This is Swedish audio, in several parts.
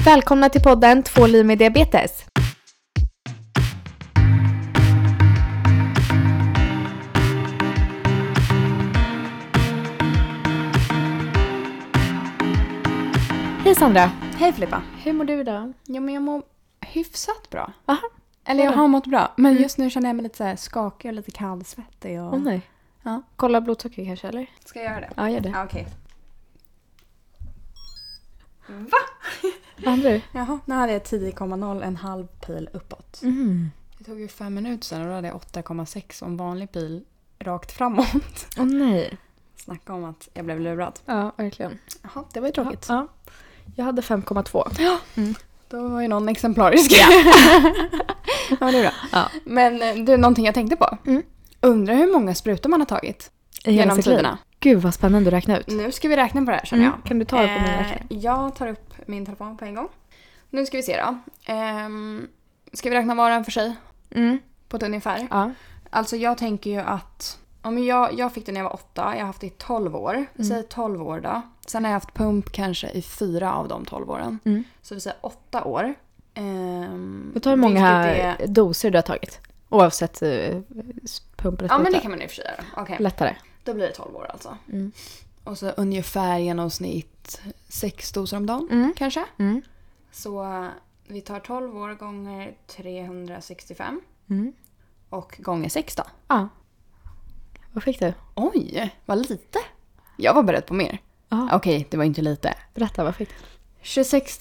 Välkomna till podden Två liv med diabetes. Hej Sandra. Hej Filippa. Hur mår du idag? Jo men jag mår hyfsat bra. Aha. Eller jag Vadå? har mått bra. Men Mm. just nu känner jag mig lite så här skakig och lite kallsvettig. Och... Mm. Åh nej. Ja. Kolla blodsocker kanske eller? Ska jag göra det? Ja, gör det. Ja, okej. Va? Vad hade du? Jaha, nu hade jag 10,0 en halv pil uppåt. Mm. Det tog ju fem minuter sedan och då hade jag 8,6 och en vanlig pil rakt framåt. Åh nej. Snacka om att jag blev lurad. Ja, verkligen. Jaha, det var ju tråkigt. Ja. Jag hade 5,2. Då var ju någon exemplarisk. Ja. ja, det är bra. Ja. Men eh, du, någonting jag tänkte på. Mm. Undrar hur många sprutor man har tagit I genom tiderna. Gud vad spännande att räkna ut. Nu ska vi räkna på det här känner jag. Mm. Kan du ta det på min Eh, räknare? Jag tar upp min telefon på en gång. Nu ska vi se då. Ehm, ska vi räkna var och en för sig Mm. på ett ungefär? Ja. Alltså jag tänker ju att om jag, jag fick den när jag var åtta, jag har haft det i 12 år. Mm. Säg 12 år då. Sen har jag haft pump kanske i fyra av de 12 åren. Mm. Så vi säger åtta år. Um, Vi tar hur många doser du har tagit. Oavsett uh, pump eller Ja men det spruta. kan man i och för sig göra. Okej, Lättare. då blir det 12 år alltså. Mm. Och så ungefär genomsnitt sex doser om dagen Mm. kanske. Mm. Så eh, vi tar 12 år gånger 365 Mm. och gånger 6 då. Ja. Vad fick du? Oj, vad lite. Jag var beredd på mer. Ja. Okej, det var inte lite. Berätta, vad fick du? 26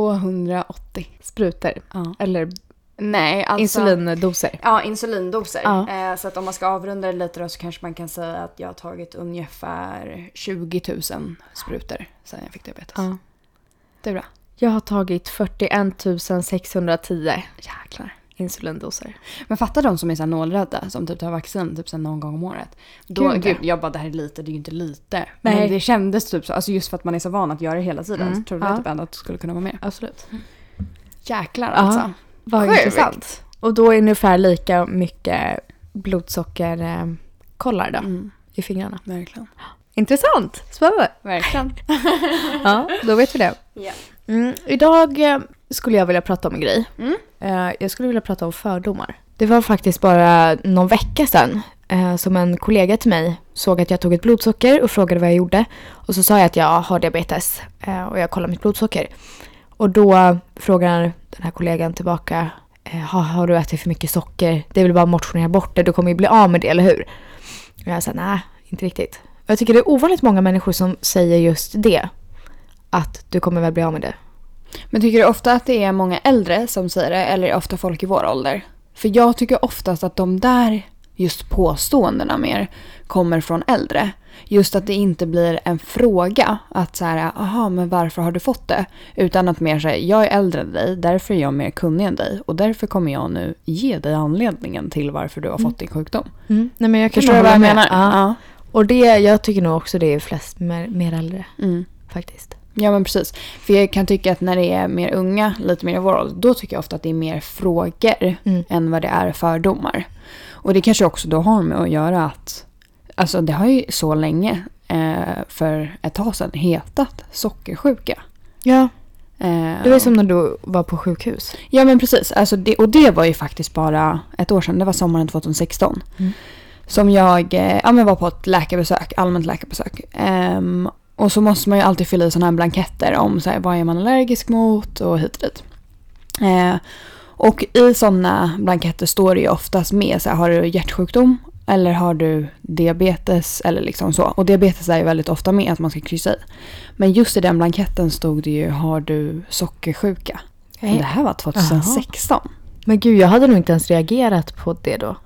280. Sprutor. Ja. Eller Nej, alltså... insulindoser. Ja, insulindoser. Ja. Eh, så att om man ska avrunda det lite då så kanske man kan säga att jag har tagit ungefär 20 000 sprutor sen jag fick diabetes. Ja. Det är bra. Jag har tagit 41 610 Jäklar. insulindoser. Men fatta de som är så här nålrädda, som typ tar vaccin typ så här någon gång om året. Då, Gud, gud, ja. jag bara det här är lite, det är ju inte lite. Nej. Men det kändes typ så, alltså just för att man är så van att göra det hela tiden Mm, så trodde jag ja. typ ändå att det skulle kunna vara mer. Absolut. Jäklar Ja. alltså. Vad Sjukt. intressant. Och då är ungefär lika mycket blodsockerkollar då Mm, i fingrarna. verkligen. Intressant! Spännande! Verkligen. Ja, då vet vi det. Ja. Mm, idag eh, skulle jag vilja prata om en grej. Mm. Eh, jag skulle vilja prata om fördomar. Det var faktiskt bara någon vecka sedan eh, som en kollega till mig såg att jag tog ett blodsocker och frågade vad jag gjorde. Och så sa jag att jag har diabetes eh, och jag kollar mitt blodsocker. Och då frågar den här kollegan tillbaka, eh, "Ha- har du ätit för mycket socker? Det är väl bara att motionera bort det, du kommer ju bli av med det, eller hur? Och jag sa nej, inte riktigt. Och jag tycker det är ovanligt många människor som säger just det. Att du kommer väl bli av med det. Men tycker du ofta att det är många äldre som säger det eller är det ofta folk i vår ålder? För jag tycker oftast att de där just påståendena mer kommer från äldre. Just att det inte blir en fråga att så här, aha men varför har du fått det? Utan att mer säga, jag är äldre än dig, därför är jag mer kunnig än dig och därför kommer jag nu ge dig anledningen till varför du har fått din sjukdom. Mm. Nej men jag kan Mm. Förstår du vad hålla jag med. menar? Ja. Ja. Och det, jag tycker nog också det är flest mer, mer äldre Mm. faktiskt. Ja men precis. För jag kan tycka att när det är mer unga, lite mer i vår ålder, då tycker jag ofta att det är mer frågor Mm. än vad det är fördomar. Och det kanske också då har med att göra att, alltså det har ju så länge, eh, för ett tag sedan, hetat sockersjuka. Ja, Eh, det var ju som när du var på sjukhus. Ja men precis, alltså det, och det var ju faktiskt bara ett år sedan, det var sommaren 2016. Mm. Som jag eh, ja, men var på ett läkarbesök, allmänt läkarbesök. Ehm, och så måste man ju alltid fylla i sådana här blanketter om så här, vad är man allergisk mot och hit och dit. Eh, och i sådana blanketter står det ju oftast med så här, har du hjärtsjukdom eller har du diabetes eller liksom så. Och diabetes är ju väldigt ofta med att man ska kryssa i. Men just i den blanketten stod det ju har du sockersjuka. Men Det här var 2016. Men gud, jag hade nog inte ens reagerat på det då.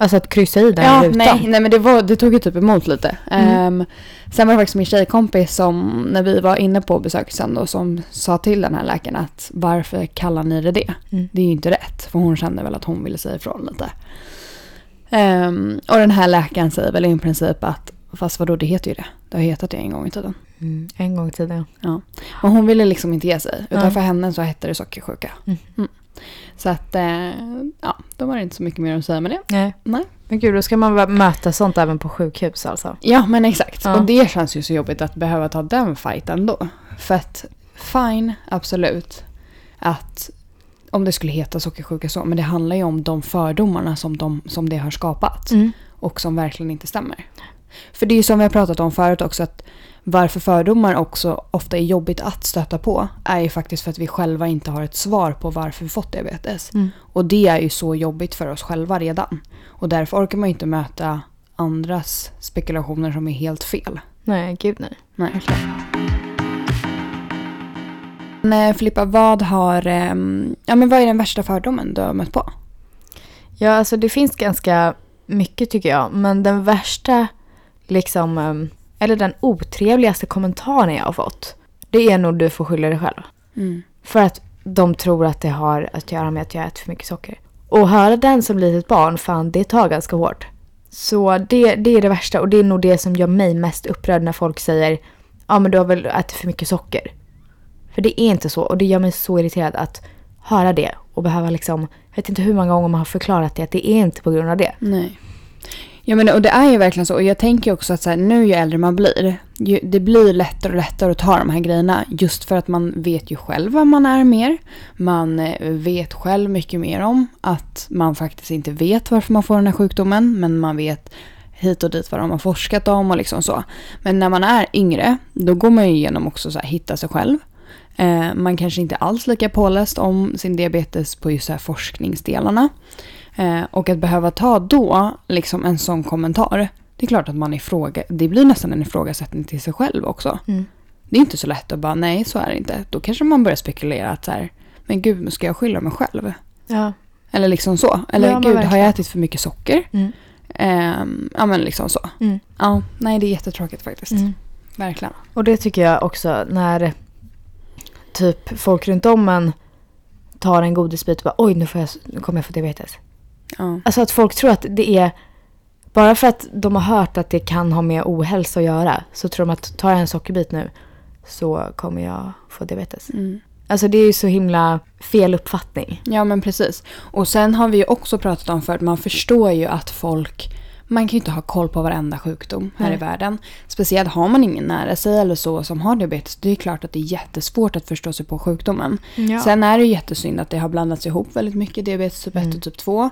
Alltså att kryssa i den Ja, rutan. Mm. nej, nej men det, var, det tog ju typ emot lite. Ehm, sen var det faktiskt min tjejkompis som, när vi var inne på besök sen då, som sa till den här läkaren att varför kallar ni det det? Mm. Det är ju inte rätt. För hon kände väl att hon ville säga ifrån lite. Ehm, och den här läkaren säger väl i princip att, fast vadå det heter ju det. Det har hetat det en gång i tiden. Mm, en gång till det. Men hon ville liksom inte ge sig. Utan Nej. för henne så hette det sockersjuka. Mm. Så att, eh, ja, då var det inte så mycket mer att säga med det. Nej. Nej. Men gud, då ska man väl möta sånt även på sjukhus alltså. Ja men exakt. Ja. Och det känns ju så jobbigt att behöva ta den fighten då. För att fine, absolut. Att om det skulle heta sockersjuka så, men det handlar ju om de fördomarna som, de, som det har skapat Mm. och som verkligen inte stämmer. För det är ju som vi har pratat om förut också att varför fördomar också ofta är jobbigt att stöta på är ju faktiskt för att vi själva inte har ett svar på varför vi fått diabetes. Mm. Och det är ju så jobbigt för oss själva redan. Och därför orkar man ju inte möta andras spekulationer som är helt fel. Nej, gud nej. Nej. Men eh, Filippa, vad har... ehm, ja, men vad är den värsta fördomen du har mött på? Ja, alltså det finns ganska mycket tycker jag. Men den värsta, liksom, ehm, eller den otrevligaste kommentaren jag har fått. Det är nog du får skylla dig själv. För att de tror att det har att göra med att jag äter för mycket socker. Och höra den som litet barn, fan det tar ganska hårt. Så det, det är det värsta och det är nog det som gör mig mest upprörd när folk säger ja men du har väl ätit för mycket socker. För det är inte så och det gör mig så irriterad att höra det och behöva liksom, jag vet inte hur många gånger man har förklarat det att det är inte på grund av det. Nej. Ja, men, och det är ju verkligen så. Och jag tänker också att så här, nu ju äldre man blir, ju, det blir lättare och lättare att ta de här grejerna. Just för att man vet ju själv vad man är mer. Man eh, vet själv mycket mer om att man faktiskt inte vet varför man får den här sjukdomen. Men man vet hit och dit vad de har forskat om och liksom så. Men när man är yngre, då går man ju igenom också så här, hitta sig själv. Eh, man kanske inte alls lika påläst om sin diabetes på just så här forskningsdelarna. Eh, och att behöva ta då liksom en sån kommentar, det är klart att man ifråga, det blir nästan en ifrågasättning till sig själv också. Mm. Det är inte så lätt att bara nej så är det inte. Då kanske man börjar spekulera att så här, men gud men ska jag skylla mig själv? Ja. Eller liksom så. Eller Ja, men gud har verkligen. jag ätit för mycket socker? Mm. Ehm, ja men liksom så. Mm. Ja, nej det är jättetråkigt faktiskt. Verkligen. Och det tycker jag också när typ folk runt om en tar en godisbit och bara oj nu, får jag, nu kommer jag få diabetes. Ja. Alltså att folk tror att det är... Bara för att de har hört att det kan ha med ohälsa att göra så tror de att tar jag en sockerbit nu så kommer jag få diabetes. Mm. Alltså det är ju så himla fel uppfattning. Ja men precis. Och sen har vi ju också pratat om för att man förstår ju att folk man kan ju inte ha koll på varenda sjukdom här Nej. i världen. Speciellt har man ingen nära sig eller så som har diabetes. Det är ju klart att det är jättesvårt att förstå sig på sjukdomen. Ja. Sen är det ju jättesynd att det har blandats ihop väldigt mycket, diabetes typ 1 Mm. och typ 2.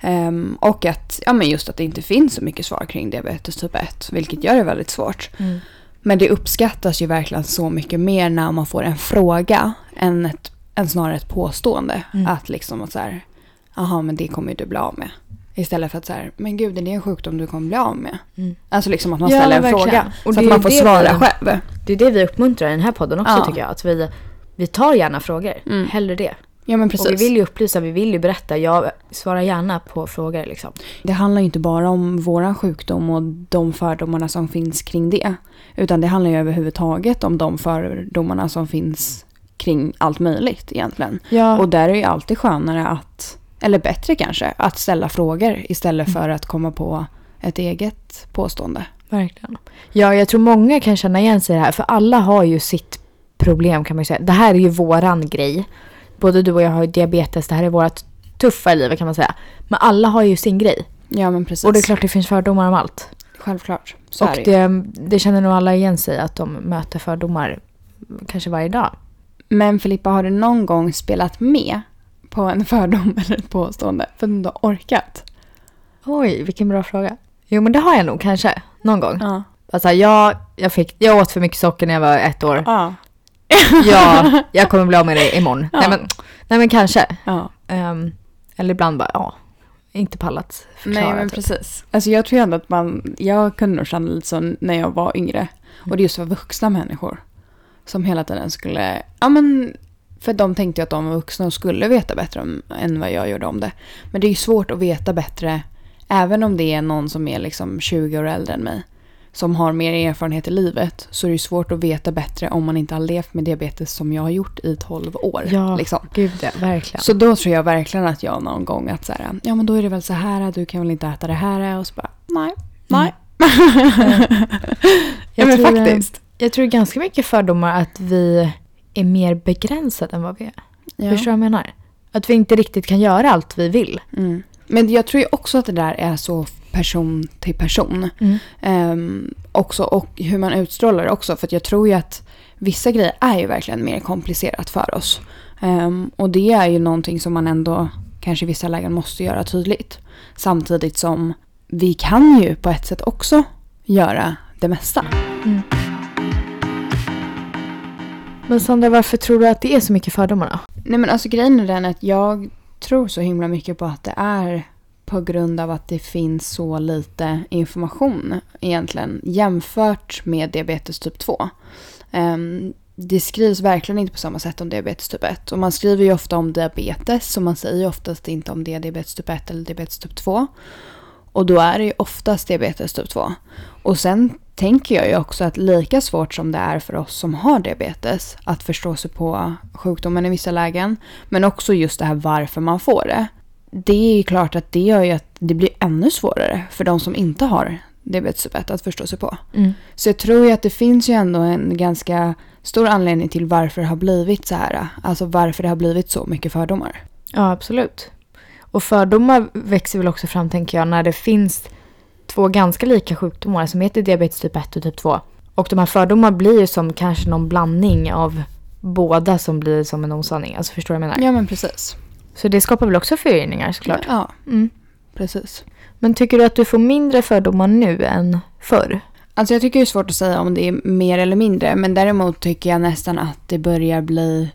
Ehm, och att, ja men just att det inte finns så mycket svar kring diabetes typ 1, vilket gör det väldigt svårt. Mm. Men det uppskattas ju verkligen så mycket mer när man får en fråga än, ett, än snarare ett påstående. Mm. Att liksom att så här, jaha men det kommer ju du bli av med. Istället för att så här, men gud är det en sjukdom du kommer bli av med? Mm. Alltså liksom att man Ja, ställer en verkligen. fråga. Och det så att är man får det svara vi- själv. Det är det vi uppmuntrar i den här podden också Ja. tycker jag. Att vi, vi tar gärna frågor. Mm. Hellre det. Ja men precis. Och vi vill ju upplysa, vi vill ju berätta. Jag svarar gärna på frågor liksom. Det handlar ju inte bara om våran sjukdom och de fördomarna som finns kring det. Utan det handlar ju överhuvudtaget om de fördomarna som finns kring allt möjligt egentligen. Ja. Och där är det ju alltid skönare att, eller bättre kanske, att ställa frågor istället för att komma på ett eget påstående. Verkligen. Ja, jag tror många kan känna igen sig i det här. För alla har ju sitt problem kan man ju säga. Det här är ju våran grej. Både du och jag har ju diabetes. Det här är vårat tuffa i livet kan man säga. Men alla har ju sin grej. Ja men precis. Och det är klart det finns fördomar om allt. Självklart. Så och är det. ju. det, det känner nog alla igen sig i, att de möter fördomar kanske varje dag. Men Filippa, har du någon gång spelat med på en fördom eller ett påstående? För att du inte har orkat? Oj, vilken bra fråga. Jo, men det har jag nog kanske. Någon gång. Ja. Alltså, jag, jag, fick, jag åt för mycket socker när jag var ett år. Ja. Ja, jag kommer bli av med det imorgon. Ja. Nej, men, nej, men kanske. ja. Ehm, eller ibland bara, ja, inte pallat förklara. Nej men typ. precis. Alltså jag tror ändå att man, jag kunde nog känna lite så när jag var yngre. Och det just var vuxna människor. Som hela tiden skulle, ja men, för de tänkte ju att de var vuxna och skulle veta bättre om, än vad jag gjorde om det. Men det är ju svårt att veta bättre, även om det är någon som är liksom 20 år äldre än mig. Som har mer erfarenhet i livet. Så är det ju svårt att veta bättre om man inte har levt med diabetes som jag har gjort i 12 år. Ja. Liksom. Gud ja, verkligen. Så då tror jag verkligen att jag någon gång att så här, ja men då är det väl så här, du kan väl inte äta det här och så bara, nej, nej. ja Jag men tror, eh, faktiskt. Jag tror ganska mycket fördomar att vi är mer begränsade än vad vi är. Ja. Förstår du vad jag menar? Att vi inte riktigt kan göra allt vi vill. Mm. Men jag tror ju också att det där är så person till person. Mm. Ehm, också och hur man utstrålar också. För att jag tror ju att vissa grejer är ju verkligen mer komplicerat för oss. Ehm, och det är ju någonting som man ändå kanske i vissa lägen måste göra tydligt. Samtidigt som vi kan ju på ett sätt också göra det mesta. Men Sandra, varför tror du att det är så mycket fördomar då? Nej men alltså grejen är den att jag tror så himla mycket på att det är på grund av att det finns så lite information egentligen jämfört med diabetes typ 2. Ehm, det skrivs verkligen inte på samma sätt om diabetes typ 1 och man skriver ju ofta om diabetes så man säger ju oftast inte om det är diabetes typ 1 eller diabetes typ 2. Och då är det ju oftast diabetes typ 2. Och sen tänker jag ju också att lika svårt som det är för oss som har diabetes att förstå sig på sjukdomen i vissa lägen, men också just det här varför man får det. Det är ju klart att det gör ju att det blir ännu svårare för de som inte har diabetes typ 1 att förstå sig på. Så jag tror ju att det finns ju ändå en ganska stor anledning till varför det har blivit så här. Alltså varför det har blivit så mycket fördomar. Ja, absolut. Och fördomar växer väl också fram, tänker jag, när det finns två ganska lika sjukdomar som heter diabetes typ 1 och typ 2. Och de här fördomar blir ju som kanske någon blandning av båda som blir som en osanning. Alltså förstår du vad jag menar? Ja men precis. Så det skapar väl också förvirringar såklart. Ja, Mm. precis. Men tycker du att du får mindre fördomar nu än förr? Alltså jag tycker det är svårt att säga om det är mer eller mindre. Men däremot tycker jag nästan att det börjar bli...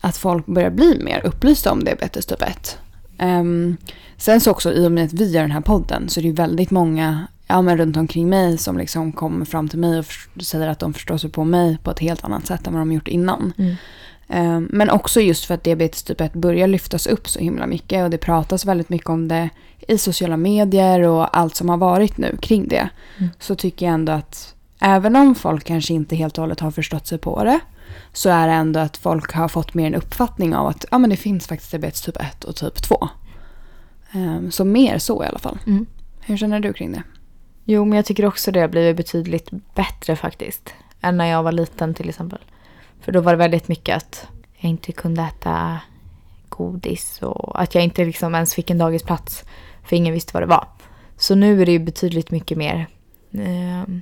Att folk börjar bli mer upplysta om diabetes typ 1. Ehm, sen så också i och med att vi gör den här podden så är det ju väldigt många ja, men runt omkring mig som liksom kommer fram till mig och förs- säger att de förstår sig på mig på ett helt annat sätt än vad de gjort innan. Ehm, Men också just för att diabetes typ 1 börjar lyftas upp så himla mycket och det pratas väldigt mycket om det i sociala medier och allt som har varit nu kring det. Mm. Så tycker jag ändå att även om folk kanske inte helt och hållet har förstått sig på det så är det ändå att folk har fått mer en uppfattning av att ja, men det finns faktiskt diabetes typ 1 och typ 2. Ehm, Så mer så i alla fall. Mm. Hur känner du kring det? Jo, men jag tycker också det har blivit betydligt bättre faktiskt. Än när jag var liten till exempel. För då var det väldigt mycket att jag inte kunde äta godis och att jag inte liksom ens fick en dagisplats. För ingen visste vad det var. Så nu är det ju betydligt mycket mer eh,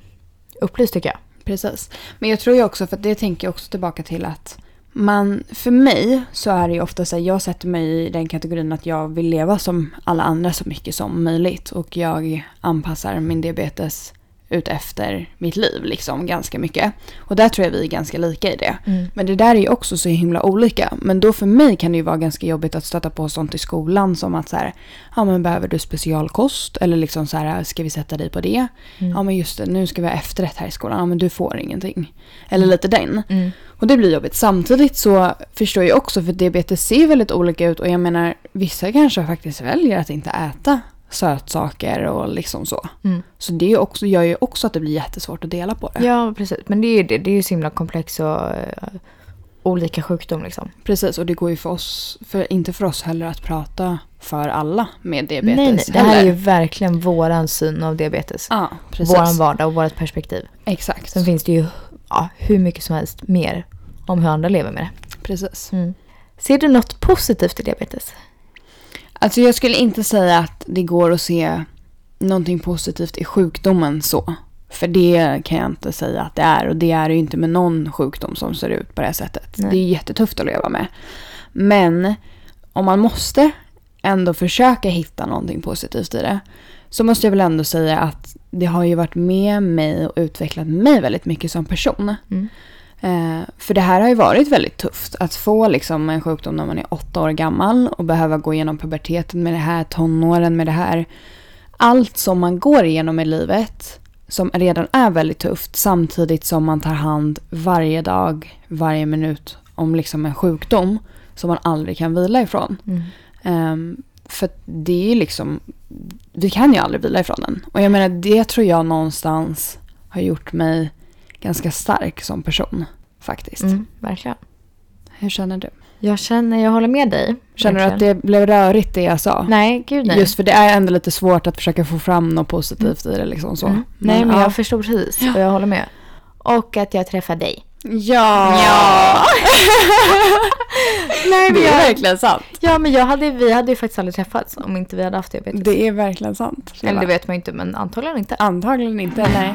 upplyst tycker jag. Precis. Men jag tror ju också, för att det tänker jag också tillbaka till att man, för mig så är det ju ofta så här, jag sätter mig i den kategorin att jag vill leva som alla andra så mycket som möjligt och jag anpassar min diabetes ut efter mitt liv liksom ganska mycket. Och där tror jag vi är ganska lika i det. Men det där är ju också så himla olika. Men då för mig kan det ju vara ganska jobbigt att stöta på sånt i skolan som att så här, ja men behöver du specialkost? Eller liksom så här, ska vi sätta dig på det? Mm. Ja men just det, nu ska vi ha efterrätt här i skolan. Ja men du får ingenting. Eller lite den. Mm. Och det blir jobbigt. Samtidigt så förstår jag också för diabetes ser väldigt olika ut och jag menar vissa kanske faktiskt väljer att inte äta sötsaker och liksom så. Mm. Så det är ju också, gör ju också att det blir jättesvårt att dela på det. Ja, precis. Men det är ju det. Det är ju så himla komplex och eh, olika sjukdom liksom. Precis, och det går ju för oss, för, inte för oss heller att prata för alla med diabetes. nej, nej. Det här är heller. ju verkligen våran syn av diabetes. Ja, precis. Våran vardag och vårt perspektiv. Exakt. Sen finns det ju ja, hur mycket som helst mer om hur andra lever med det. Precis. Mm. Ser du något positivt i diabetes? Alltså jag skulle inte säga att det går att se någonting positivt i sjukdomen så. För det kan jag inte säga att det är och det är det ju inte med någon sjukdom som ser ut på det här sättet. Nej. Det är ju jättetufft att leva med. Men om man måste ändå försöka hitta någonting positivt i det så måste jag väl ändå säga att det har ju varit med mig och utvecklat mig väldigt mycket som person. Mm. Eh, för det här har ju varit väldigt tufft. Att få liksom en sjukdom när man är åtta år gammal och behöva gå igenom puberteten med det här, tonåren med det här. Allt som man går igenom i livet som redan är väldigt tufft samtidigt som man tar hand varje dag, varje minut om liksom en sjukdom som man aldrig kan vila ifrån. Mm. Ehm, för att det är ju liksom, vi kan ju aldrig vila ifrån den. Och jag menar det tror jag någonstans har gjort mig ganska stark som person faktiskt. Mm, verkligen. Hur känner du? Jag känner, jag håller med dig. Känner du att verkligen. det blev rörigt det jag sa? Nej, gud nej. Just för det är ändå lite svårt att försöka få fram något positivt i det liksom så. Mm. Nej, men ja. jag förstår precis och jag håller med. Och att jag träffar dig. Ja! Nej, men Det är jag, verkligen sant. ja, men jag hade, vi hade ju faktiskt aldrig träffats om inte vi hade haft diabetes. Det är verkligen sant. Eller det vet man ju inte, men antagligen inte. Antagligen inte, nej.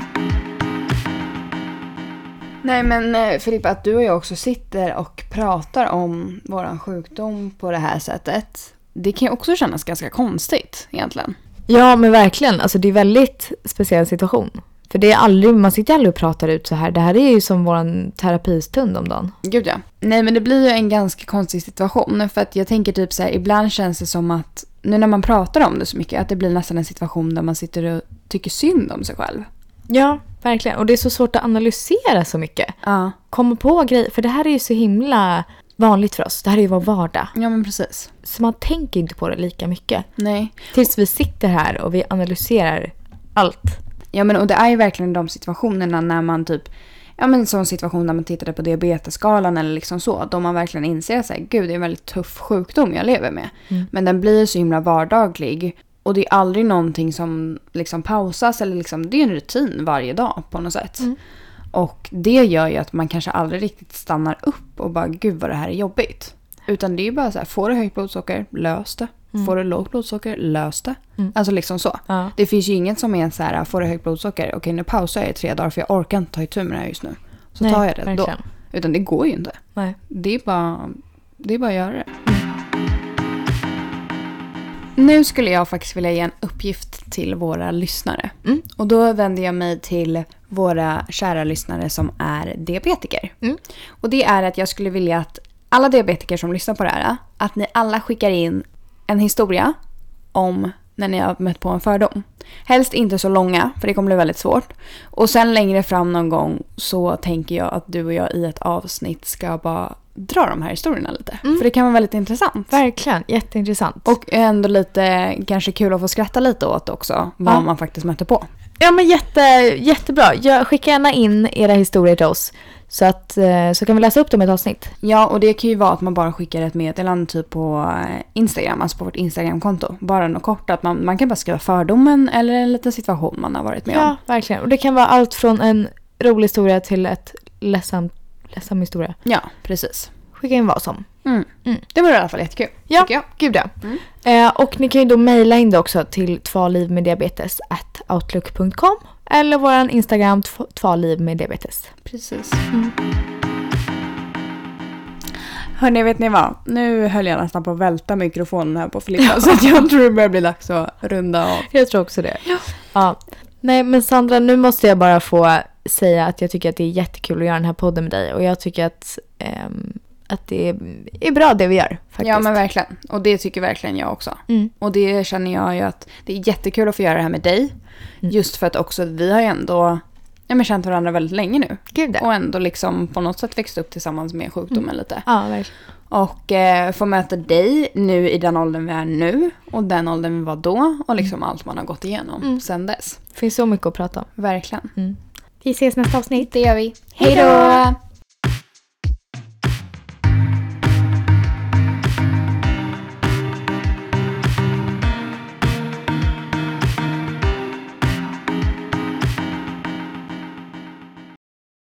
Nej men eh, Filippa, att du och jag också sitter och pratar om våran sjukdom på det här sättet. Det kan ju också kännas ganska konstigt egentligen. Ja, men verkligen. Alltså det är väldigt speciell situation. För det är aldrig, man sitter ju aldrig och pratar ut så här. Det här är ju som vår terapistund om dagen. Gud ja. Nej men det blir ju en ganska konstig situation för att jag tänker typ så här, ibland känns det som att nu när man pratar om det så mycket att det blir nästan en situation där man sitter och tycker synd om sig själv. Ja, verkligen. Och det är så svårt att analysera så mycket. Ja. Komma på grejer, för det här är ju så himla vanligt för oss. Det här är ju vår vardag. Ja men precis. Så man tänker inte på det lika mycket. Nej. Tills vi sitter här och vi analyserar allt. Ja men och det är ju verkligen de situationerna när man typ Ja men en sån situation där man tittade på diabetesskalan eller liksom så. Då man verkligen inser att gud det är en väldigt tuff sjukdom jag lever med. Men den blir så himla vardaglig. Och det är aldrig någonting som liksom pausas eller liksom, det är en rutin varje dag på något sätt. Och det gör ju att man kanske aldrig riktigt stannar upp och bara gud vad det här är jobbigt. Utan det är ju bara så här, får du högt blodsocker, lös det. Får du lågt blodsocker, lös det. Alltså liksom så. Ja. Det finns ju inget som är så här, "Ah, får du högt blodsocker, okej nu pausar jag i tre dagar för jag orkar inte ta itu med det här just nu. Så Nej, tar jag det verkligen. då. Utan det går ju inte. Nej. Det är bara, det är bara att göra det. Nu skulle jag faktiskt vilja ge en uppgift till våra lyssnare. Mm. Och då vänder jag mig till våra kära lyssnare som är diabetiker. Mm. Och det är att jag skulle vilja att alla diabetiker som lyssnar på det här, att ni alla skickar in en historia om när ni har mött på en fördom. Helst inte så långa, för det kommer bli väldigt svårt. Och sen längre fram någon gång så tänker jag att du och jag i ett avsnitt ska bara dra de här historierna lite. För det kan vara väldigt intressant. Mm. Verkligen, jätteintressant. Och ändå lite kanske kul att få skratta lite åt också, vad Ja. man faktiskt mötte på. Ja men jätte, jättebra. Jag, skicka gärna in era historier till oss. Så, att, eh, så kan vi läsa upp dem i ett avsnitt. Ja, och det kan ju vara att man bara skickar ett meddelande typ på eh, Instagram, alltså på vårt Instagramkonto. Bara något kort, att man, man kan bara skriva fördomen eller en liten situation man har varit med om. verkligen. Och det kan vara allt från en rolig historia till ett ledsamt, ledsam historia. Ja, precis. Skicka in vad som. Mm. Mm. Det vore i alla fall jättekul, Ja, tycker jag. gud ja. Mm. Eh, och ni kan ju då mejla in det också till tvalivmeddiabetes.outlook.com eller vår Instagram tv- tvalivmeddiabetes. Precis. Hörni, vet ni vad? Nu höll jag nästan på att välta mikrofonen här på Filippa så att jag tror det börjar bli dags att runda av. Jag tror också det. Ja. Nej men Sandra, nu måste jag bara få säga att jag tycker att det är jättekul att göra den här podden med dig och jag tycker att, ehm, att det är, är bra det vi gör faktiskt. Ja men verkligen. Och det tycker verkligen jag också. Mm. Och det känner jag ju att det är jättekul att få göra det här med dig. Mm. Just för att också vi har ju ändå ja, men känt varandra väldigt länge nu. Gud ja. Mm. Och ändå liksom på något sätt växt upp tillsammans med sjukdomen lite. Ja, verkligen. Och eh, få möta dig nu i den åldern vi är nu och den åldern vi var då och liksom allt man har gått igenom Mm. sen dess. Det finns så mycket att prata om. Verkligen. Vi ses nästa avsnitt. Det gör vi. Hej då! Hej då!